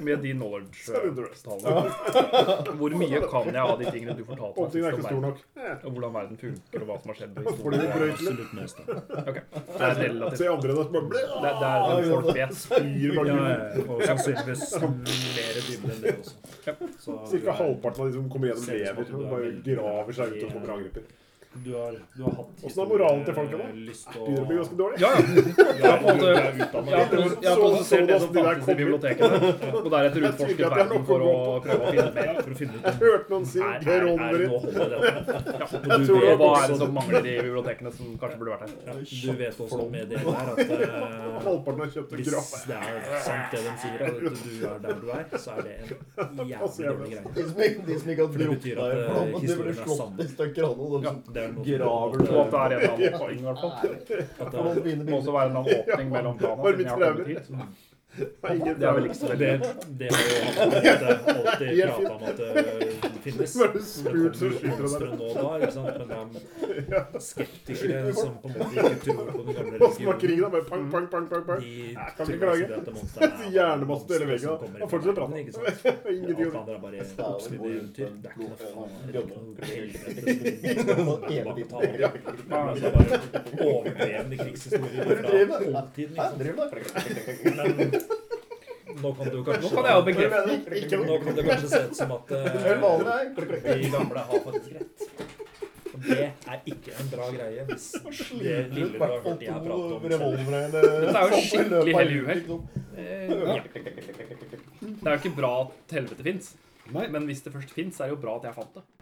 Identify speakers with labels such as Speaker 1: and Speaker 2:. Speaker 1: med de
Speaker 2: er det drøst.
Speaker 1: knowledge-tallene. Hvor mye kan jeg av de tingene du fortalte meg
Speaker 2: Åpningen
Speaker 1: sist
Speaker 2: er
Speaker 1: om
Speaker 2: ikke stor
Speaker 1: verden?
Speaker 2: nok. Eh,
Speaker 1: Og hvordan verden funker, og hva som har skjedd. og
Speaker 2: Fordi
Speaker 1: historien.
Speaker 2: det brøyt litt.
Speaker 3: Absolutt mest. da.
Speaker 1: Ok, Det er relativt.
Speaker 2: Se andre der boble.
Speaker 1: Det er der folk vet.
Speaker 2: Spyr
Speaker 3: Ja,
Speaker 2: bak
Speaker 3: ja,
Speaker 2: huet.
Speaker 3: ja. og sannsynligvis mer dybde enn det også.
Speaker 1: Ja.
Speaker 3: Så du
Speaker 2: Cirka
Speaker 3: er-
Speaker 2: halvparten av de som kommer gjennom,
Speaker 3: Ser ut som
Speaker 2: lever
Speaker 3: at du
Speaker 2: og
Speaker 3: er
Speaker 2: bare
Speaker 3: veldig-
Speaker 2: graver seg ut og kommer angriper.
Speaker 3: Du har, du har hatt Eh,
Speaker 2: Åssen er moralen til folka da?
Speaker 3: lyst og
Speaker 2: Begynner å bli ganske dårlig.
Speaker 1: Ja, ja. Jeg har på en måte jeg har,
Speaker 3: utdannet.
Speaker 1: pros- jeg har prosessert
Speaker 2: sånn
Speaker 1: det som fantes i bibliotekene, og deretter
Speaker 2: Jeg tenker
Speaker 1: utforsket
Speaker 2: at det er
Speaker 1: verden
Speaker 2: nok
Speaker 1: for å
Speaker 2: å gå
Speaker 1: prøve å finne ut mer.
Speaker 3: for å finne ut
Speaker 2: Jeg hørte noen si
Speaker 1: Er, er, er,
Speaker 2: geronderit.
Speaker 1: nå holder det. Ja, og du
Speaker 2: Jeg tror det
Speaker 1: vet
Speaker 2: var
Speaker 1: hva er det
Speaker 2: boksen.
Speaker 1: som mangler i bibliotekene som kanskje burde vært her.
Speaker 3: ja, Du vet også med det der at eh,
Speaker 2: Halvparten har kjøpt en grav.
Speaker 3: hvis det er sant det de sier, at du er der du er, så er det en jævlig dårlig greie.
Speaker 4: De som ikke, de som ikke kan bli
Speaker 3: Det
Speaker 4: opptatt
Speaker 3: betyr at, eh,
Speaker 4: i
Speaker 3: historien
Speaker 4: det blir
Speaker 3: er sann.
Speaker 4: slått i stykker han og de som
Speaker 3: Det er noe
Speaker 4: Graver
Speaker 3: som-
Speaker 1: Og at det er en eller annen åpning, i hvert fall.
Speaker 3: at eh,
Speaker 4: Kan man
Speaker 3: det-
Speaker 1: Må også
Speaker 4: begynne bildet?
Speaker 1: være en eller annen åpning mellom planene siden jeg har kommet hit.
Speaker 2: Det er ingen
Speaker 1: Det er vel ikke så veldig
Speaker 3: det, det har jo alltid, alltid
Speaker 2: Helt
Speaker 3: prata om at det finnes.
Speaker 2: Bare spurt, så
Speaker 3: Det kommer
Speaker 2: skyter han
Speaker 3: monstre
Speaker 2: deg.
Speaker 3: nå og da, ikke sant? men det er skeptikere som på en måte ikke tror på den gamle
Speaker 2: Og smakkeriet,
Speaker 3: religionen.
Speaker 2: da. Bare pang, pang, pang, pang. pang.
Speaker 3: De
Speaker 2: Nei, kan
Speaker 3: tror
Speaker 2: ikke
Speaker 3: ikke
Speaker 2: klage.
Speaker 3: at det monsteret er
Speaker 2: Hjernemasse til hele
Speaker 3: monster som
Speaker 2: veggen.
Speaker 3: kommer
Speaker 2: Han
Speaker 3: fra
Speaker 2: fortsetter å
Speaker 3: verden, ikke sant?
Speaker 2: prate.
Speaker 3: Alt
Speaker 2: Ingenting.
Speaker 3: andre er bare oppspinn eventyr. Det er ikke noe faen. Det er ikke noe helvete som
Speaker 4: Sånn
Speaker 3: kommer
Speaker 4: evig
Speaker 3: tilbake
Speaker 4: bit.
Speaker 3: til alle. Det er altså bare overdrevne krigshistorier fra oldtiden.
Speaker 4: Hæ,
Speaker 3: ikke sant?
Speaker 4: driver du med?
Speaker 3: Men nå kan du kanskje
Speaker 1: Nå kan jeg jo bekrefte
Speaker 4: Ikke
Speaker 3: Nå kan det kanskje se ut som at
Speaker 4: Det er
Speaker 3: eh,
Speaker 4: vanlig, nei.
Speaker 3: de gamle har faktisk rett. Og det er ikke en bra greie hvis det lille du har hørt jeg prate om
Speaker 1: Dette er jo skikkelig hellig uhell. Eh, ja. Det er jo ikke bra at helvete fins,
Speaker 5: Nei.
Speaker 1: men hvis det først fins, er det jo bra at jeg fant det.